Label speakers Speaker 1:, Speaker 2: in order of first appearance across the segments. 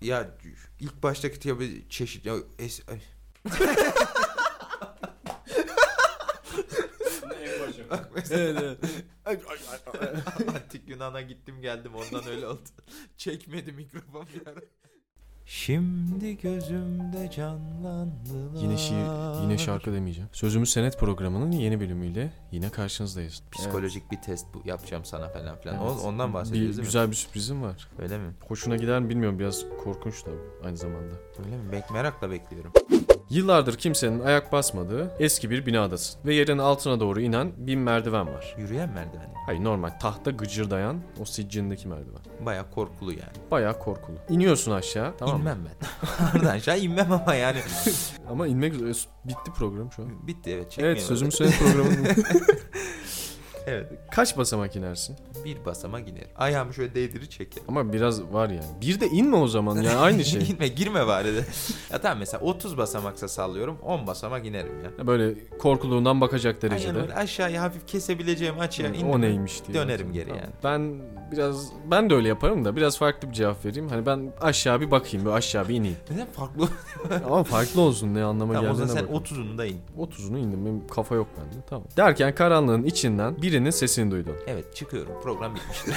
Speaker 1: Ya ilk baştaki tabii çeşit... Ya, es, ay.
Speaker 2: en başa.
Speaker 1: Mesela
Speaker 3: Evet, evet. Ay, ay, ay, ay.
Speaker 1: Antik Yunan'a gittim geldim ondan öyle oldu. Çekmedi mikrofon bir ara. Şimdi gözümde canlandılar.
Speaker 3: yine şiir, yine şarkı demeyeceğim. Sözümüz Senet programının yeni bölümüyle yine karşınızdayız.
Speaker 1: Psikolojik bir test bu yapacağım sana falan filan.
Speaker 3: Evet.
Speaker 1: O- Ondan
Speaker 3: Bir,
Speaker 1: bahsediyoruz değil
Speaker 3: güzel bir sürprizim var.
Speaker 1: mi? Öyle mi?
Speaker 3: Hoşuna gider mi bilmiyorum biraz korkunç tabii aynı zamanda.
Speaker 1: Öyle mi? Bek merakla bekliyorum.
Speaker 3: Yıllardır kimsenin ayak basmadığı eski bir binadasın ve yerin altına doğru inen bir merdiven var.
Speaker 1: Yürüyen merdiven.
Speaker 3: Hayır normal tahta gıcırdayan o siccindeki merdiven.
Speaker 1: Baya korkulu yani.
Speaker 3: Bayağı korkulu. İniyorsun aşağı tamam mı?
Speaker 1: İnmem ben. Oradan aşağı inmem ama yani.
Speaker 3: Ama inmek üzere. Bitti program şu an.
Speaker 1: Bitti evet çekmeyelim.
Speaker 3: Evet sözümü söyle programının.
Speaker 1: Evet.
Speaker 3: Kaç basamak inersin?
Speaker 1: Bir basama giderim. Ayağımı şöyle değdirir çekerim.
Speaker 3: Ama biraz var yani. Bir de inme o zaman ya aynı şey.
Speaker 1: Gitme girme bari de. ya tamam mesela 30 basamaksa sallıyorum 10 basamak inerim ya.
Speaker 3: Ya Böyle korkuluğundan bakacak
Speaker 1: Aynen
Speaker 3: derecede.
Speaker 1: öyle aşağıya hafif kesebileceğim açıya
Speaker 3: Yani
Speaker 1: indim.
Speaker 3: o neymiş diye.
Speaker 1: Dönerim geri
Speaker 3: Tamam.
Speaker 1: yani.
Speaker 3: Ben biraz ben de öyle yaparım da biraz farklı bir cevap vereyim. Hani ben aşağı bir bakayım, böyle aşağı bir ineyim.
Speaker 1: Neden farklı?
Speaker 3: Ama farklı olsun ne anlama
Speaker 1: tamam o zaman
Speaker 3: geldiğine
Speaker 1: sen
Speaker 3: bak.
Speaker 1: 30'unu da in.
Speaker 3: 30'unu indim. Benim kafa yok bende. Tamam. Derken karanlığın içinden birinin sesini duydun.
Speaker 1: Evet çıkıyorum program bitmiştir.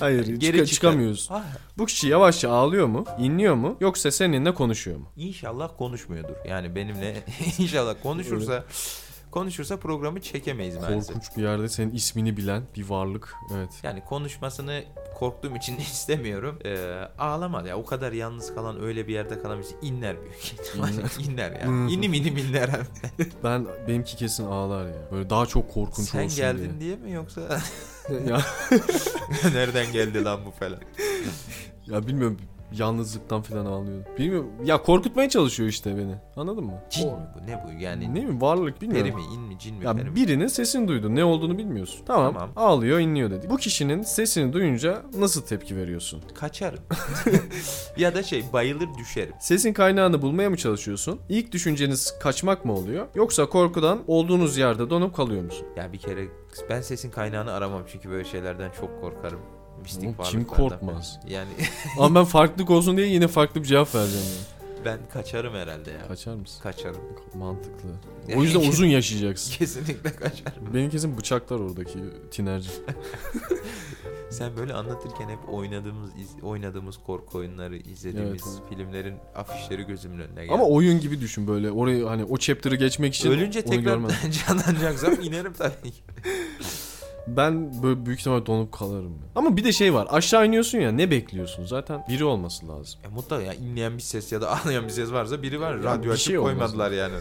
Speaker 3: Hayır,
Speaker 1: Geri çıkar.
Speaker 3: çıka- çıkamıyoruz.
Speaker 1: ah,
Speaker 3: Bu kişi yavaşça ağlıyor mu? inliyor mu? Yoksa seninle konuşuyor mu?
Speaker 1: inşallah konuşmuyordur. Yani benimle inşallah konuşursa konuşursa programı çekemeyiz maalesef.
Speaker 3: Korkunç bir yerde senin ismini bilen bir varlık. Evet.
Speaker 1: Yani konuşmasını korktuğum için istemiyorum. Ee, ağlamadı ya. O kadar yalnız kalan öyle bir yerde kalan birisi inler büyük ihtimalle. inler yani. İnim inim inler hem.
Speaker 3: Ben benimki kesin ağlar ya. Böyle daha çok korkunç
Speaker 1: Sen
Speaker 3: olsun
Speaker 1: geldin diye. mi yoksa
Speaker 3: diye. ya,
Speaker 1: nereden geldi lan bu falan.
Speaker 3: ya bilmiyorum yalnızlıktan falan ağlıyor. Bilmiyorum. Ya korkutmaya çalışıyor işte beni. Anladın mı?
Speaker 1: Cin
Speaker 3: O-
Speaker 1: mi bu? Ne bu? Yani
Speaker 3: Ne mi varlık bilmiyorum.
Speaker 1: peri mi? in mi? Cin mi?
Speaker 3: Ya
Speaker 1: peri mi?
Speaker 3: birinin sesini duydun. Ne olduğunu bilmiyorsun. Tamam,
Speaker 1: Tamam.
Speaker 3: Ağlıyor, inliyor dedik. Bu kişinin sesini duyunca nasıl tepki veriyorsun?
Speaker 1: Kaçarım. ya da şey bayılır düşerim.
Speaker 3: Sesin kaynağını bulmaya mı çalışıyorsun? İlk düşünceniz kaçmak mı oluyor? Yoksa korkudan olduğunuz yerde donup kalıyor musun?
Speaker 1: Ya bir kere ben sesin kaynağını aramam çünkü böyle şeylerden çok korkarım. Mistik
Speaker 3: Oğlum kim
Speaker 1: varlıklardan falan.
Speaker 3: korkmaz?
Speaker 1: Yani
Speaker 3: Ama ben farklılık olsun diye yine farklı bir cevap vereceğim. yani.
Speaker 1: ben kaçarım herhalde ya.
Speaker 3: Kaçar mısın?
Speaker 1: Kaçarım.
Speaker 3: Mantıklı. O yüzden uzun yaşayacaksın.
Speaker 1: Kesinlikle kaçarım.
Speaker 3: Beni kesin bıçaklar oradaki tinerci.
Speaker 1: Sen böyle anlatırken hep oynadığımız iz- oynadığımız korku oyunları, izlediğimiz
Speaker 3: Evet,
Speaker 1: filmlerin afişleri gözümün önüne geldi.
Speaker 3: Ama oyun gibi düşün böyle. Orayı hani o chapter'ı geçmek için
Speaker 1: Ölünce
Speaker 3: onu görmen.
Speaker 1: tekrar canlanacaksam inerim tabii ki.
Speaker 3: Ben böyle büyük ihtimal donup kalırım. ya. Ama bir de şey var. Aşağı iniyorsun ya ne bekliyorsun? Zaten biri olması lazım.
Speaker 1: E, mutlaka ya inleyen bir ses ya da ağlayan bir ses varsa biri var.
Speaker 3: Ya
Speaker 1: Radyo
Speaker 3: bir
Speaker 1: açıp
Speaker 3: şey olmaz.
Speaker 1: koymadılar yani.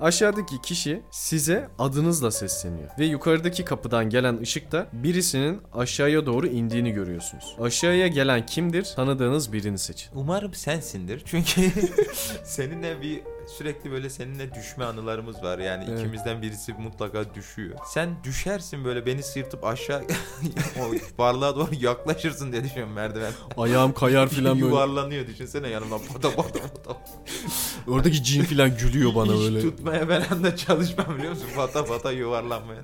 Speaker 3: Aşağıdaki kişi size adınızla sesleniyor. Ve yukarıdaki kapıdan gelen ışıkta birisinin aşağıya doğru indiğini görüyorsunuz. Aşağıya gelen kimdir? Tanıdığınız birini seçin.
Speaker 1: Umarım sensindir. Çünkü seninle bir sürekli böyle seninle düşme anılarımız var. Yani
Speaker 3: Evet.
Speaker 1: ikimizden birisi mutlaka düşüyor. Sen düşersin böyle beni sırtıp aşağı o varlığa doğru yaklaşırsın diye düşünüyorum merdiven.
Speaker 3: Ayağım kayar filan böyle.
Speaker 1: Yuvarlanıyor düşünsene yanımdan pata pata pata.
Speaker 3: Oradaki cin filan gülüyor bana
Speaker 1: İş
Speaker 3: böyle.
Speaker 1: tutmaya falan da çalışmam biliyor musun? Pata pata yuvarlanmaya.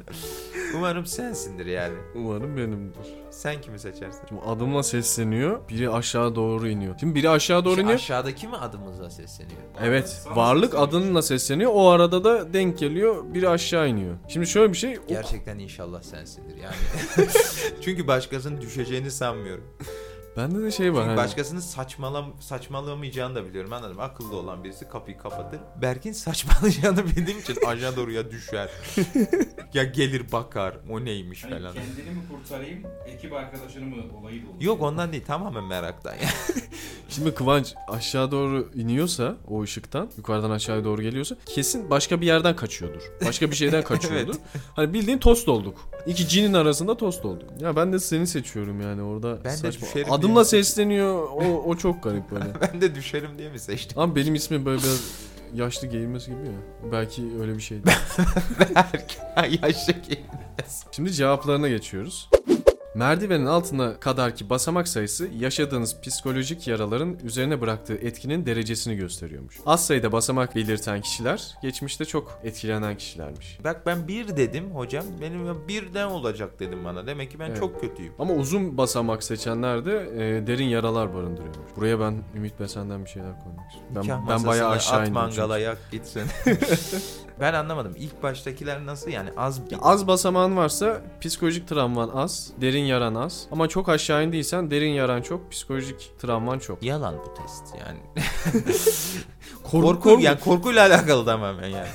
Speaker 1: Umarım sensindir yani.
Speaker 3: Umarım benimdir.
Speaker 1: Sen kimi seçersin?
Speaker 3: Şimdi adımla sesleniyor. Biri aşağı doğru iniyor. Şimdi biri aşağı doğru
Speaker 1: Şu
Speaker 3: iniyor.
Speaker 1: aşağıdaki mi adımızla sesleniyor?
Speaker 3: Evet.
Speaker 2: Sana
Speaker 3: Varlık
Speaker 2: sesleniyor.
Speaker 3: adınla sesleniyor. O arada da denk geliyor. Biri aşağı iniyor. Şimdi şöyle bir şey. o-
Speaker 1: Gerçekten inşallah sensindir yani. Çünkü başkasının düşeceğini sanmıyorum.
Speaker 3: Bende de şey var.
Speaker 1: Çünkü
Speaker 3: hani-
Speaker 1: başkasının saçmalam saçmalamayacağını da biliyorum anladım. Akıllı olan birisi kapıyı kapatır. Berk'in saçmalayacağını bildiğim için aşağı doğru ya düşer. ya gelir bakar o neymiş
Speaker 2: Hani
Speaker 1: falan.
Speaker 2: kendini mi kurtarayım, ekip arkadaşını mı olayı da olur.
Speaker 1: Yok ondan değil tamamen meraktan yani.
Speaker 3: Şimdi Kıvanç aşağı doğru iniyorsa o ışıktan yukarıdan aşağıya doğru geliyorsa kesin başka bir yerden kaçıyordur. Başka bir şeyden kaçıyordur. Hani bildiğin tost olduk. İki cinin arasında tost olduk. Ya ben de seni seçiyorum yani orada.
Speaker 1: Ben de
Speaker 3: saçma.
Speaker 1: düşerim
Speaker 3: Adımla
Speaker 1: diye-
Speaker 3: sesleniyor. O, o çok garip böyle.
Speaker 1: ben de düşerim diye mi seçtim?
Speaker 3: Ama benim ismim böyle biraz yaşlı giyinmesi gibi ya. Belki öyle bir şey. şeydi.
Speaker 1: Berk yaşa ki.
Speaker 3: Şimdi cevaplarına geçiyoruz. Merdivenin altına kadarki basamak sayısı yaşadığınız psikolojik yaraların üzerine bıraktığı etkinin derecesini gösteriyormuş. Az sayıda basamak belirten kişiler geçmişte çok etkilenen kişilermiş.
Speaker 1: Bak ben bir dedim hocam. Benim ya birden olacak dedim bana. Demek ki ben
Speaker 3: Evet.
Speaker 1: çok kötüyüm.
Speaker 3: Ama uzun basamak seçenler de e, derin yaralar barındırıyormuş. Buraya ben Ümit Besen'den bir şeyler koymak
Speaker 1: Nikah
Speaker 3: istiyorum. Ben, ben
Speaker 1: masasına
Speaker 3: bayağı aşağı
Speaker 1: at
Speaker 3: indim. çünkü.
Speaker 1: mangala yak gitsin. ben anlamadım. İlk baştakiler nasıl yani az bir...
Speaker 3: Ya az basamağın varsa psikolojik travman az, derin yaran az. Ama çok aşağı indiysen derin yaran çok, psikolojik travman çok.
Speaker 1: Yalan bu test yani.
Speaker 3: Korku,
Speaker 1: Korku,
Speaker 3: korku.
Speaker 1: yani korkuyla alakalı tamamen yani.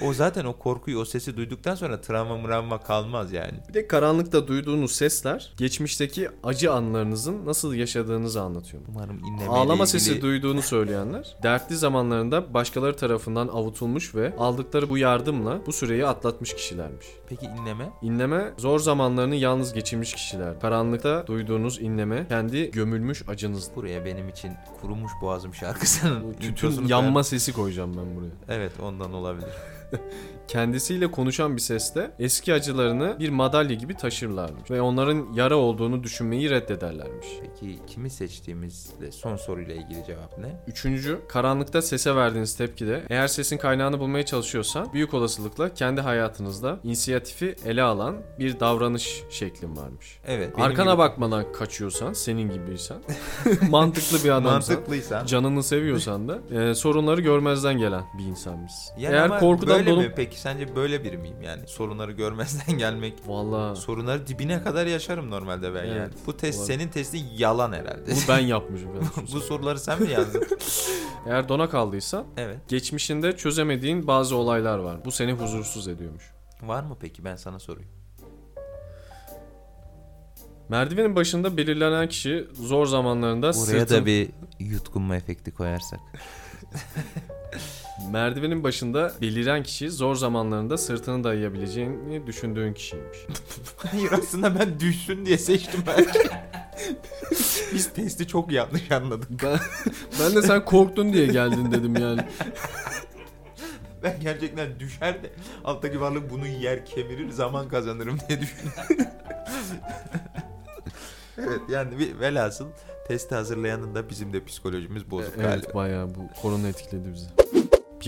Speaker 1: o zaten o korkuyu o sesi duyduktan sonra travma mravma kalmaz yani.
Speaker 3: Bir de karanlıkta duyduğunuz sesler geçmişteki acı anlarınızın nasıl yaşadığınızı anlatıyor.
Speaker 1: Umarım inlemeyle
Speaker 3: Ağlama
Speaker 1: ilgili-
Speaker 3: sesi duyduğunu söyleyenler dertli zamanlarında başkaları tarafından avutulmuş ve aldıkları bu yardımla bu süreyi atlatmış kişilermiş.
Speaker 1: Peki inleme?
Speaker 3: İnleme zor zamanlarını yalnız geçirmiş kişiler. Karanlıkta duyduğunuz inleme kendi gömülmüş acınız.
Speaker 1: Buraya benim için kurumuş boğazım şarkısının
Speaker 3: Tütün
Speaker 1: introsunu
Speaker 3: yanma sesi koyacağım ben buraya.
Speaker 1: koyar- Evet ondan olabilir.
Speaker 3: Kendisiyle konuşan bir seste eski acılarını bir madalya gibi taşırlarmış ve onların yara olduğunu düşünmeyi reddederlermiş.
Speaker 1: Peki kimi seçtiğimizle son soruyla ilgili cevap ne?
Speaker 3: Üçüncü, karanlıkta sese verdiğiniz tepkide eğer sesin kaynağını bulmaya çalışıyorsan büyük olasılıkla kendi hayatınızda inisiyatifi ele alan bir davranış şeklin varmış.
Speaker 1: Evet. benim
Speaker 3: Arkana
Speaker 1: gibi-
Speaker 3: bakmadan kaçıyorsan, senin gibiysen, mantıklı bir adamsan,
Speaker 1: Mantıklıysan.
Speaker 3: canını seviyorsan da e, sorunları görmezden gelen bir insanmışsın.
Speaker 1: Yani
Speaker 3: eğer
Speaker 1: ama
Speaker 3: korkudan
Speaker 1: böyle
Speaker 3: dolup...
Speaker 1: mi? Peki sence böyle biri miyim yani? Sorunları görmezden gelmek.
Speaker 3: Valla
Speaker 1: Sorunları dibine kadar yaşarım normalde ben yani.
Speaker 3: Evet,
Speaker 1: Bu test
Speaker 3: doğru.
Speaker 1: senin testin yalan herhalde.
Speaker 3: bunu ben yapmışım. ben düşünsene.
Speaker 1: Bu soruları sen mi yazdın?
Speaker 3: Eğer dona kaldıysan
Speaker 1: evet.
Speaker 3: geçmişinde çözemediğin bazı olaylar var. Bu seni huzursuz ediyormuş.
Speaker 1: Var mı peki ben sana sorayım.
Speaker 3: Merdivenin başında belirlenen kişi zor zamanlarında
Speaker 1: Buraya
Speaker 3: sırtın-
Speaker 1: da bir yutkunma efekti koyarsak.
Speaker 3: merdivenin başında beliren kişi zor zamanlarında sırtını dayayabileceğini düşündüğün kişiymiş.
Speaker 1: Hayır aslında ben düşsün diye seçtim belki. Biz testi çok yanlış anladık.
Speaker 3: Ben, ben de sen korktun diye geldin dedim yani.
Speaker 1: Ben gerçekten düşer de alttaki varlık bunu yer kemirir zaman kazanırım diye düşündüm. evet yani bir, velhasıl testi hazırlayanın da bizim de psikolojimiz bozuk galiba.
Speaker 3: Evet bayağı bu korona etkiledi bizi.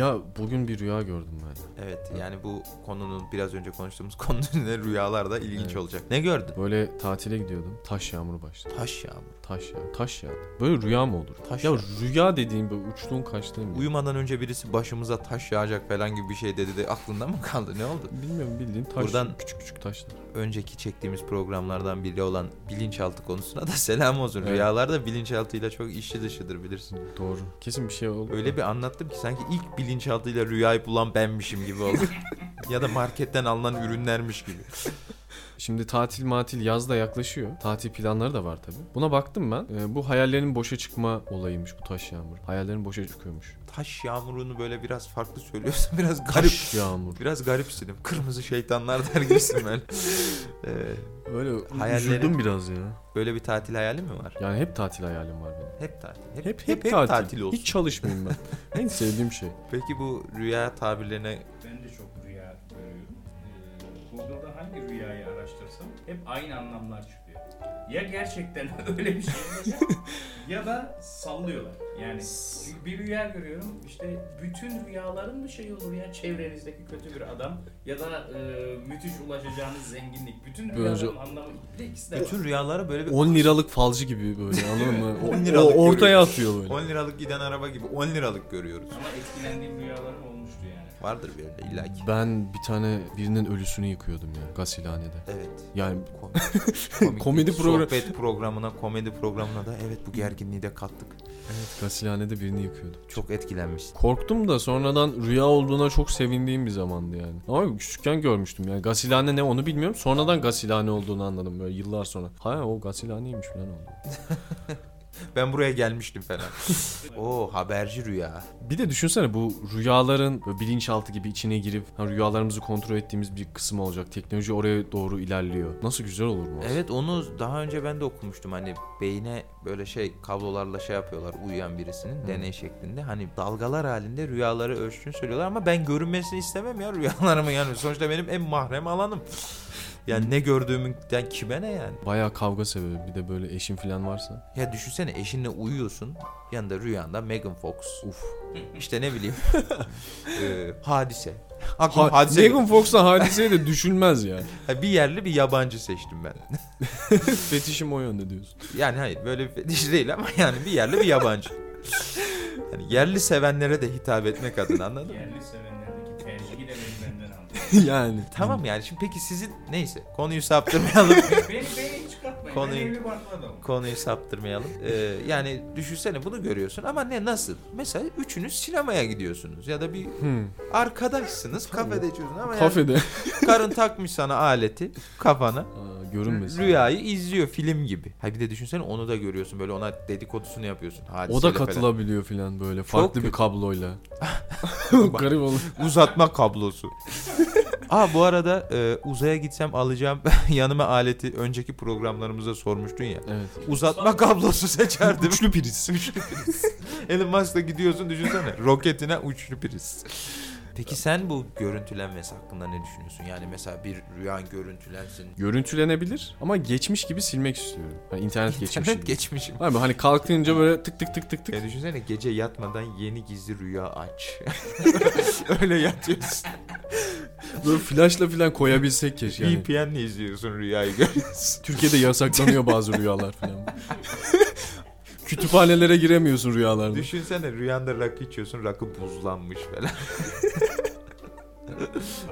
Speaker 3: Ya bugün bir rüya gördüm ben.
Speaker 1: Evet yani bu konunun biraz önce konuştuğumuz konunun üzerine rüyalar da ilginç
Speaker 3: Evet.
Speaker 1: olacak. Ne gördün?
Speaker 3: Böyle tatile gidiyordum. Taş yağmuru başladı.
Speaker 1: Taş yağmur.
Speaker 3: Taş ya, taş ya. Böyle rüya mı olur?
Speaker 1: Taş
Speaker 3: ya
Speaker 1: yağmur.
Speaker 3: rüya dediğin böyle uçtuğun kaçtığın bir-
Speaker 1: Uyumadan önce birisi başımıza taş yağacak falan gibi bir şey dedi de aklında mı kaldı? Ne oldu?
Speaker 3: Bilmiyorum bildiğin taş.
Speaker 1: Buradan-
Speaker 3: küçük küçük taşlar.
Speaker 1: Önceki çektiğimiz programlardan biri olan bilinçaltı konusuna da selam olsun.
Speaker 3: Evet.
Speaker 1: Rüyalar da bilinçaltıyla çok işi dışıdır bilirsin.
Speaker 3: Doğru. Kesin bir şey oldu.
Speaker 1: Öyle bir anlattım ki sanki ilk bilinçaltıyla rüyayı bulan benmişim gibi oldu. ya da marketten alınan ürünlermiş gibi.
Speaker 3: Şimdi tatil matil yaz da yaklaşıyor. Tatil planları da var tabii. Buna baktım ben. Ee, bu hayallerin boşa çıkma olayıymış bu taş yağmuru. Hayallerin boşa çıkıyormuş.
Speaker 1: Taş yağmurunu böyle biraz farklı söylüyorsun biraz garip.
Speaker 3: Taş yağmur.
Speaker 1: Biraz garipsinim. Kırmızı şeytanlar der gibisin ben. Ee,
Speaker 3: Öyle
Speaker 1: Hayallerin-
Speaker 3: üzüldüm biraz ya.
Speaker 1: böyle bir tatil hayali mi var?
Speaker 3: Yani hep tatil hayalim var benim.
Speaker 1: Hep tatil. Hep
Speaker 3: Hep hep, tatil.
Speaker 1: olsun.
Speaker 3: Hiç çalışmayayım ben. en sevdiğim şey.
Speaker 1: Peki bu rüya tabirlerine
Speaker 2: Ben de çok rüya görüyorum. Ee, Google'da hangi rüyayı araştırsam hep aynı anlamlar çıkıyor. Ya gerçekten öyle bir şey olacak ya da sallıyorlar. Yani çünkü bir rüya görüyorum işte bütün rüyaların bir şey olur ya çevrenizdeki kötü bir adam ya da e, müthiş ulaşacağınız zenginlik. Bütün
Speaker 3: Böyle önce-
Speaker 2: rüyaların anlamı bir de ikisi de var.
Speaker 1: bütün rüyalara böyle bir
Speaker 3: 10 liralık falcı gibi böyle anladın mı?
Speaker 1: 10
Speaker 3: O-
Speaker 1: liralık
Speaker 3: o ortaya
Speaker 1: görüyoruz.
Speaker 3: atıyor böyle.
Speaker 1: 10 liralık giden araba gibi 10 liralık görüyoruz.
Speaker 2: Ama etkilendiğim rüyalarım olmuştu yani.
Speaker 1: Vardır bir yerde illaki.
Speaker 3: Ben bir tane birinin ölüsünü yıkıyordum ya gasilhanede.
Speaker 1: Evet.
Speaker 3: Yani
Speaker 1: Ko- komik
Speaker 3: Komedi
Speaker 1: bir
Speaker 3: program-
Speaker 1: Sohbet programına, komedi programına da evet bu gerginliği de kattık.
Speaker 3: gasilhanede birini yıkıyordum.
Speaker 1: Çok etkilenmiş.
Speaker 3: Korktum da sonradan rüya olduğuna çok sevindiğim bir zamandı yani. Ama küçükken görmüştüm yani. Gasilhane ne onu bilmiyorum. Sonradan gasilhane olduğunu anladım böyle yıllar sonra. Ha o gasilhaneymiş falan oldu.
Speaker 1: Ben buraya gelmiştim falan. Oo haberci rüya.
Speaker 3: Bir de düşünsene bu rüyaların böyle bilinçaltı gibi içine girip ha, rüyalarımızı kontrol ettiğimiz bir kısım olacak. Teknoloji oraya doğru ilerliyor. Nasıl güzel olur mu?
Speaker 1: Evet onu daha önce ben de okumuştum. Hani beyne böyle şey kablolarla şey yapıyorlar uyuyan birisinin
Speaker 3: Hı.
Speaker 1: deney şeklinde. Hani dalgalar halinde rüyaları ölçtüğünü söylüyorlar ama ben görünmesini istemem ya rüyalarımın yani. Sonuçta benim en mahrem alanım. Yani ne gördüğümden kime ne yani?
Speaker 3: Bayağı kavga sebebi. Bir de böyle eşin falan varsa.
Speaker 1: Ya düşünsene eşinle uyuyorsun. Yanında rüyanda Megan Fox.
Speaker 3: Uf.
Speaker 1: İşte ne bileyim. Ee, hadise. Aklıma
Speaker 3: Ha,
Speaker 1: hadise.
Speaker 3: Megan Fox'la hadiseyi de düşünmez ya.
Speaker 1: Ha, bir yerli bir yabancı seçtim ben.
Speaker 3: Fetişim o yönde diyorsun.
Speaker 1: Yani hayır böyle bir fetiş değil ama yani bir yerli bir yabancı. Yani yerli sevenlere de hitap etmek adına anladın mı?
Speaker 2: Yerli sevenlerdeki tercihi de beni benden aldı.
Speaker 3: yani.
Speaker 1: Tamam yani şimdi peki sizin neyse konuyu saptırmayalım.
Speaker 2: beni, beni çıkartmayın.
Speaker 1: Konuyu-
Speaker 2: Ben evli barklı adamım.
Speaker 1: konuyu saptırmayalım. Ee, yani düşünsene bunu görüyorsun ama ne nasıl? Mesela üçünüz sinemaya gidiyorsunuz ya da bir
Speaker 3: Hmm.
Speaker 1: arkadaşsınız kafede içiyorsun ama yani
Speaker 3: Kafede.
Speaker 1: karın takmış sana aleti kafana.
Speaker 3: Aa, görünmesin.
Speaker 1: Rüyayı izliyor film gibi. Ha bir de düşünsene onu da görüyorsun böyle ona dedikodusunu yapıyorsun.
Speaker 3: O da
Speaker 1: hadiseyle falan.
Speaker 3: katılabiliyor falan böyle farklı bir
Speaker 1: kötü.
Speaker 3: kabloyla.
Speaker 1: Bak.
Speaker 3: Garip olur.
Speaker 1: Uzatma kablosu. Aa bu arada e, uzaya gitsem alacağım yanıma aleti önceki programlarımızda sormuştun ya.
Speaker 3: Evet.
Speaker 1: Uzatma kablosu seçerdim.
Speaker 3: Üçlü priz.
Speaker 1: Elon Musk'la gidiyorsun düşünsene. Roketine uçlu priz. Peki sen bu görüntülenmesi hakkında ne düşünüyorsun? Yani mesela bir rüyan görüntülensin.
Speaker 3: Görüntülenebilir ama geçmiş gibi silmek istiyorum. Hani internet geçmiş
Speaker 1: İnternet
Speaker 3: gibi.
Speaker 1: geçmişim.
Speaker 3: Abi hani kalktığınca böyle tık tık tık tık tık.
Speaker 1: Ya düşünsene gece yatmadan yeni gizli rüya aç. Öyle yatıyorsun.
Speaker 3: Böyle flashla falan koyabilsek keşke. Yani.
Speaker 1: VPN'le izliyorsun rüyayı görüyorsun.
Speaker 3: Türkiye'de yasaklanıyor bazı rüyalar falan. Kütüphanelere giremiyorsun rüyalarda.
Speaker 1: Düşünsene rüyanda rakı içiyorsun rakı buzlanmış falan.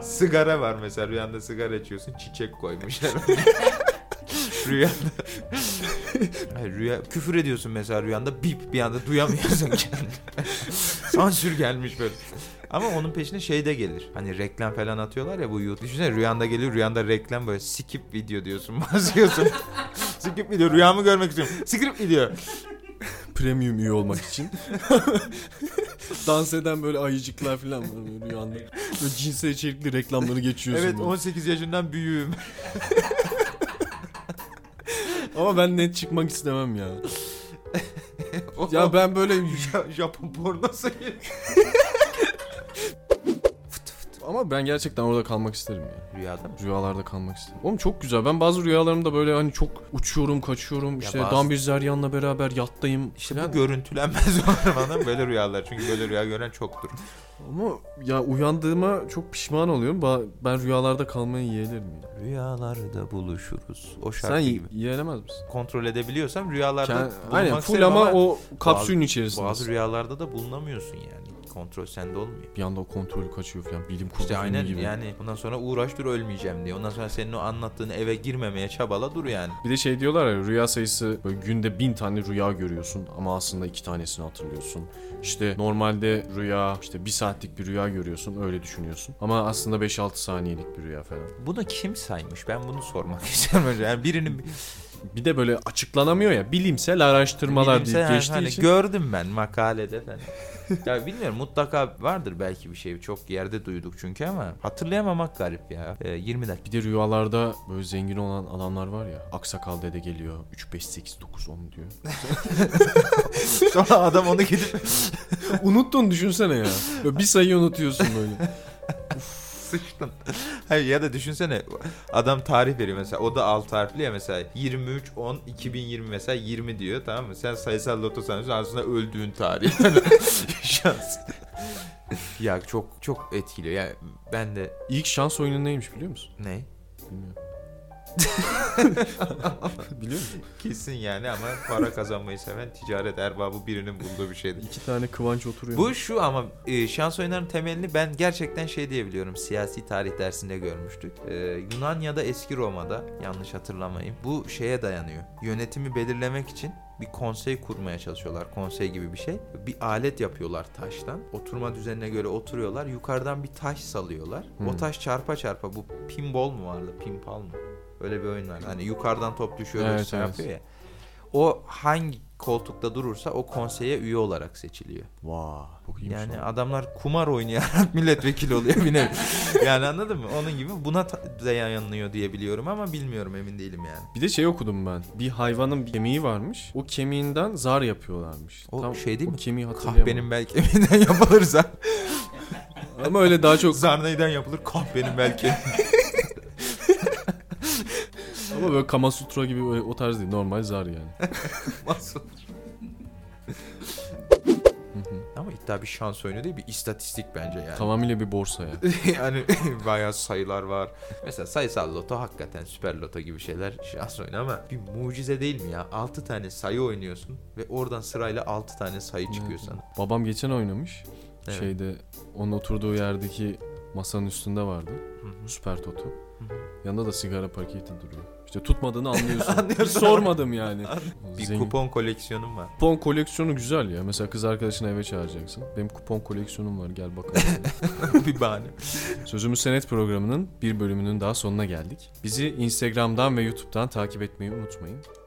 Speaker 1: sigara var mesela rüyanda sigara içiyorsun çiçek koymuşlar. rüyanda Hayır, rüya küfür ediyorsun mesela rüyanda bip bir anda duyamıyorsun kendini. Sansür gelmiş böyle. Ama onun peşine şey de gelir. Hani reklam falan atıyorlar ya bu YouTube. Düşünsene rüyanda geliyor rüyanda reklam böyle skip video diyorsun basıyorsun. skip video rüyamı görmek istiyorum. Skip video.
Speaker 3: Premium üye olmak için. Dans eden böyle ayıcıklar falan var böyle rüyanda. Böyle cinsel içerikli reklamları geçiyorsun.
Speaker 1: Evet
Speaker 3: böyle.
Speaker 1: 18 yaşından büyüğüm.
Speaker 3: Ama ben net çıkmak istemem ya. Ya ben böyle
Speaker 1: Ja- Japon pornosu gibi.
Speaker 3: ama ben gerçekten orada kalmak isterim ya.
Speaker 1: Rüyada mı?
Speaker 3: Rüyalarda kalmak isterim. Oğlum çok güzel. Ben bazı rüyalarımda böyle hani çok uçuyorum, kaçıyorum. işte
Speaker 1: bazı-
Speaker 3: Dan bir Zeryan'la beraber yattayım.
Speaker 1: İşte
Speaker 3: falan.
Speaker 1: bu görüntülenmez olan bana böyle rüyalar. Çünkü böyle rüya gören çoktur.
Speaker 3: Ama ya uyandığıma çok pişman oluyorum. Ba- Ben rüyalarda kalmayı yeğlerim ya.
Speaker 1: Rüyalarda buluşuruz. O şarkı
Speaker 3: Sen ye-
Speaker 1: gibi.
Speaker 3: yeğlemez misin?
Speaker 1: Kontrol edebiliyorsam rüyalarda
Speaker 3: Kend-
Speaker 1: bulunmak
Speaker 3: Aynen full
Speaker 1: isterim
Speaker 3: ama o kapsülün içerisinde.
Speaker 1: Bazı rüyalarda da bulunamıyorsun yani. Kontrol sende olmuyor.
Speaker 3: Bir anda o kontrolü kaçıyor falan bilim kurgu
Speaker 1: İşte
Speaker 3: filmi
Speaker 1: aynen
Speaker 3: gibi.
Speaker 1: yani ondan sonra uğraş dur ölmeyeceğim diye. Ondan sonra senin o anlattığın eve girmemeye çabala dur yani.
Speaker 3: Bir de şey diyorlar ya rüya sayısı böyle günde bin tane rüya görüyorsun ama aslında iki tanesini hatırlıyorsun. İşte normalde rüya işte bir saatlik bir rüya görüyorsun öyle düşünüyorsun. Ama aslında 5-6 saniyelik bir rüya falan.
Speaker 1: Bunu kim saymış? Ben bunu sormak istiyorum. önce. Yani birinin
Speaker 3: Bir de böyle açıklanamıyor ya bilimsel araştırmalar
Speaker 1: Bilimsel
Speaker 3: deyip
Speaker 1: yani
Speaker 3: geçtiği
Speaker 1: hani
Speaker 3: için.
Speaker 1: Gördüm ben makalede falan. ya bilmiyorum mutlaka vardır belki bir şey. Çok yerde duyduk çünkü ama hatırlayamamak garip ya. Ee, 20 dakika.
Speaker 3: Bir de rüyalarda böyle zengin olan adamlar var ya. Aksakal dede geliyor. 3, 5, 8, 9, 10 diyor.
Speaker 1: Sonra adam onu gidip
Speaker 3: Unuttun düşünsene ya. Böyle bir sayı unutuyorsun böyle.
Speaker 1: sıçtın. Hayır ya da düşünsene adam tarih veriyor mesela. O da alt harfli ya mesela 23 10 2020 mesela 20 diyor tamam mı? Sen sayısal loto sanıyorsun aslında öldüğün tarih. Şans. ya çok çok etkiliyor. Yani ben de
Speaker 3: İlk şans oyunu neymiş biliyor musun?
Speaker 1: ne?
Speaker 3: Bilmiyorum. biliyor musun?
Speaker 1: Kesin yani ama para kazanmayı seven ticaret erbabı birinin bulduğu bir şeydir.
Speaker 3: İki tane kıvanç oturuyor.
Speaker 1: Bu şu ama e, şans oyunlarının temelini ben gerçekten şey diyebiliyorum. Siyasi tarih dersinde görmüştük. E, Yunan ya da eski Roma'da yanlış hatırlamayın. Bu şeye dayanıyor. Yönetimi belirlemek için bir konsey kurmaya çalışıyorlar. Konsey gibi bir şey. Bir alet yapıyorlar taştan. Oturma düzenine göre oturuyorlar. Yukarıdan bir taş salıyorlar.
Speaker 3: Hmm.
Speaker 1: O taş çarpa çarpa bu pinball mu vardı? Pinball mu? Öyle bir oyun vardı. Hani yukarıdan top düşüyor böyle
Speaker 3: Evet,
Speaker 1: şey
Speaker 3: evet.
Speaker 1: yapıyor ya. O hangi koltukta durursa o konseye üye olarak seçiliyor.
Speaker 3: Vaa. Çok iyiymiş
Speaker 1: Yani
Speaker 3: lan.
Speaker 1: adamlar kumar oynayarak milletvekili oluyor bir nevi. yani anladın mı? Onun gibi buna ta- dayanıyor diye biliyorum ama bilmiyorum emin değilim yani.
Speaker 3: Bir de şey okudum ben. Bir hayvanın bir kemiği varmış. O kemiğinden zar yapıyorlarmış.
Speaker 1: O şey değil
Speaker 3: o
Speaker 1: mi?
Speaker 3: kemiği hatırlayamadım.
Speaker 1: Kahvenin belki evinden yapılırsa.
Speaker 3: Ama öyle daha çok
Speaker 1: Zarnaydan yapılır kahvenin belki.
Speaker 3: Ama böyle Kamasutra gibi böyle o tarz değil. Normal zar yani.
Speaker 1: Nasıl olur? Ama iddia bir şans oyunu değil bir istatistik bence yani.
Speaker 3: Tamamıyla bir borsa yani.
Speaker 1: yani bayağı sayılar var. Mesela sayısal loto hakikaten süper loto gibi şeyler şans oyunu ama bir mucize değil mi ya? 6 tane sayı oynuyorsun ve oradan sırayla 6 tane sayı çıkıyor
Speaker 3: Evet. Şey,
Speaker 1: sana.
Speaker 3: Babam geçen oynamış.
Speaker 1: Evet.
Speaker 3: Şeyde onun oturduğu yerdeki masanın üstünde vardı.
Speaker 1: hı.
Speaker 3: Süper totu. Yanında da sigara paketi duruyor. İşte tutmadığını anlıyorsun.
Speaker 1: Anlıyorum.
Speaker 3: Hiç sormadım yani.
Speaker 1: Bir
Speaker 3: Zengin.
Speaker 1: kupon koleksiyonum var.
Speaker 3: Kupon koleksiyonu güzel ya. Mesela kız arkadaşını eve çağıracaksın. Benim kupon koleksiyonum var gel bakalım.
Speaker 1: bir bahane.
Speaker 3: Sözümüz Senet programının bir bölümünün daha sonuna geldik. Bizi Instagram'dan ve YouTube'dan takip etmeyi unutmayın.